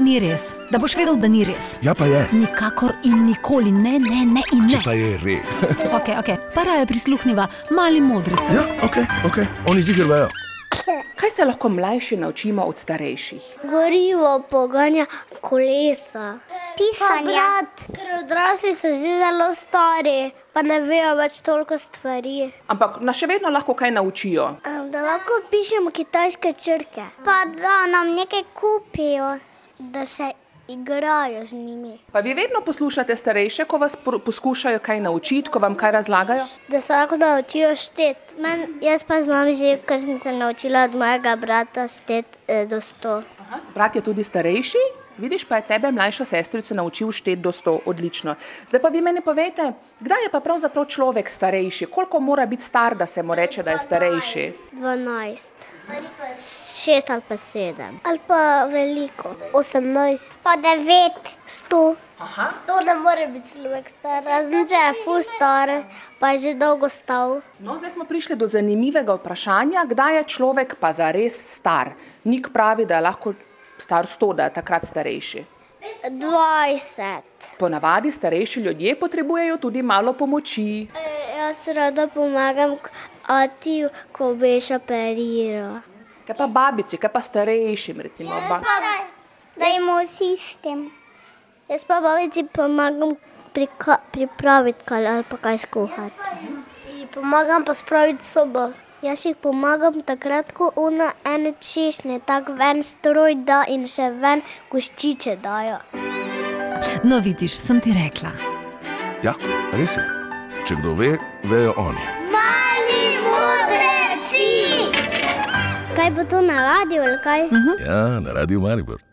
ni res, da boš vedel, da ni res. Ja, pa je. Nikakor in nikoli ne, ne, ne in Če ne. pa je res. Okay, okay. Para je prisluhnila mali modrici. Ja, ok, ok, oni zigrajo. Kaj se lahko mlajši naučimo od starejših? Gorivo poganja kolesa. Pisanje. Ker odrasli so že zelo stari, pa ne vejo več toliko stvari. Ampak nas še vedno lahko kaj naučijo. Da lahko pišemo kitajske črke. Pa da nam nekaj kupijo, da se igrajo z njimi. Pa vi vedno poslušate starejše, ko vas pro- poskušajo kaj naučiti, ko vam kaj razlagajo? Da se lahko naučijo šteti. Men, jaz pa znam že, ker sem se naučila od mojega brata šteti eh, do 100. Aha. Brat je tudi starejši, vidiš pa je tebe, mlajšo sestrico, naučil šteti do 100, odlično. Zdaj pa vi meni povete, kdaj je pa pravzaprav človek starejši, koliko mora biti star, da se mu reče, da je starejši? 12. Ali pa 6 ali pa 7. Ali pa veliko. 18. Pa 9. 100. Aha. 100 ne more biti človek star, razen če je full star, pa je že dolgo stal. No, zdaj smo prišli do zanimivega vprašanja, kdaj je človek pa zares star. Nik pravi, da je lahko star 100, da je takrat starejši. 20. Ponavadi starejši ljudje potrebujejo tudi malo pomoči. E, Jaz rada pomagam ati, ko beš operiral. Kaj pa babici, kaj pa starejšim, recimo. Ba Da imamo sistem. Jaz pa babici pomagam prika- pripraviti kaj ali pa kaj skuhati. Ji pomagam pa spraviti sobo. Jaz jih pomagam takrat, ko ona ene češnje tako ven stroj da in še ven koščiče dajo. No, vidiš, sem ti rekla. Ja, res je. Če kdo ve, vejo oni. Mali modreci! Kaj bo to na radiju ali kaj? Mhm. Ja, na radiju Maribor.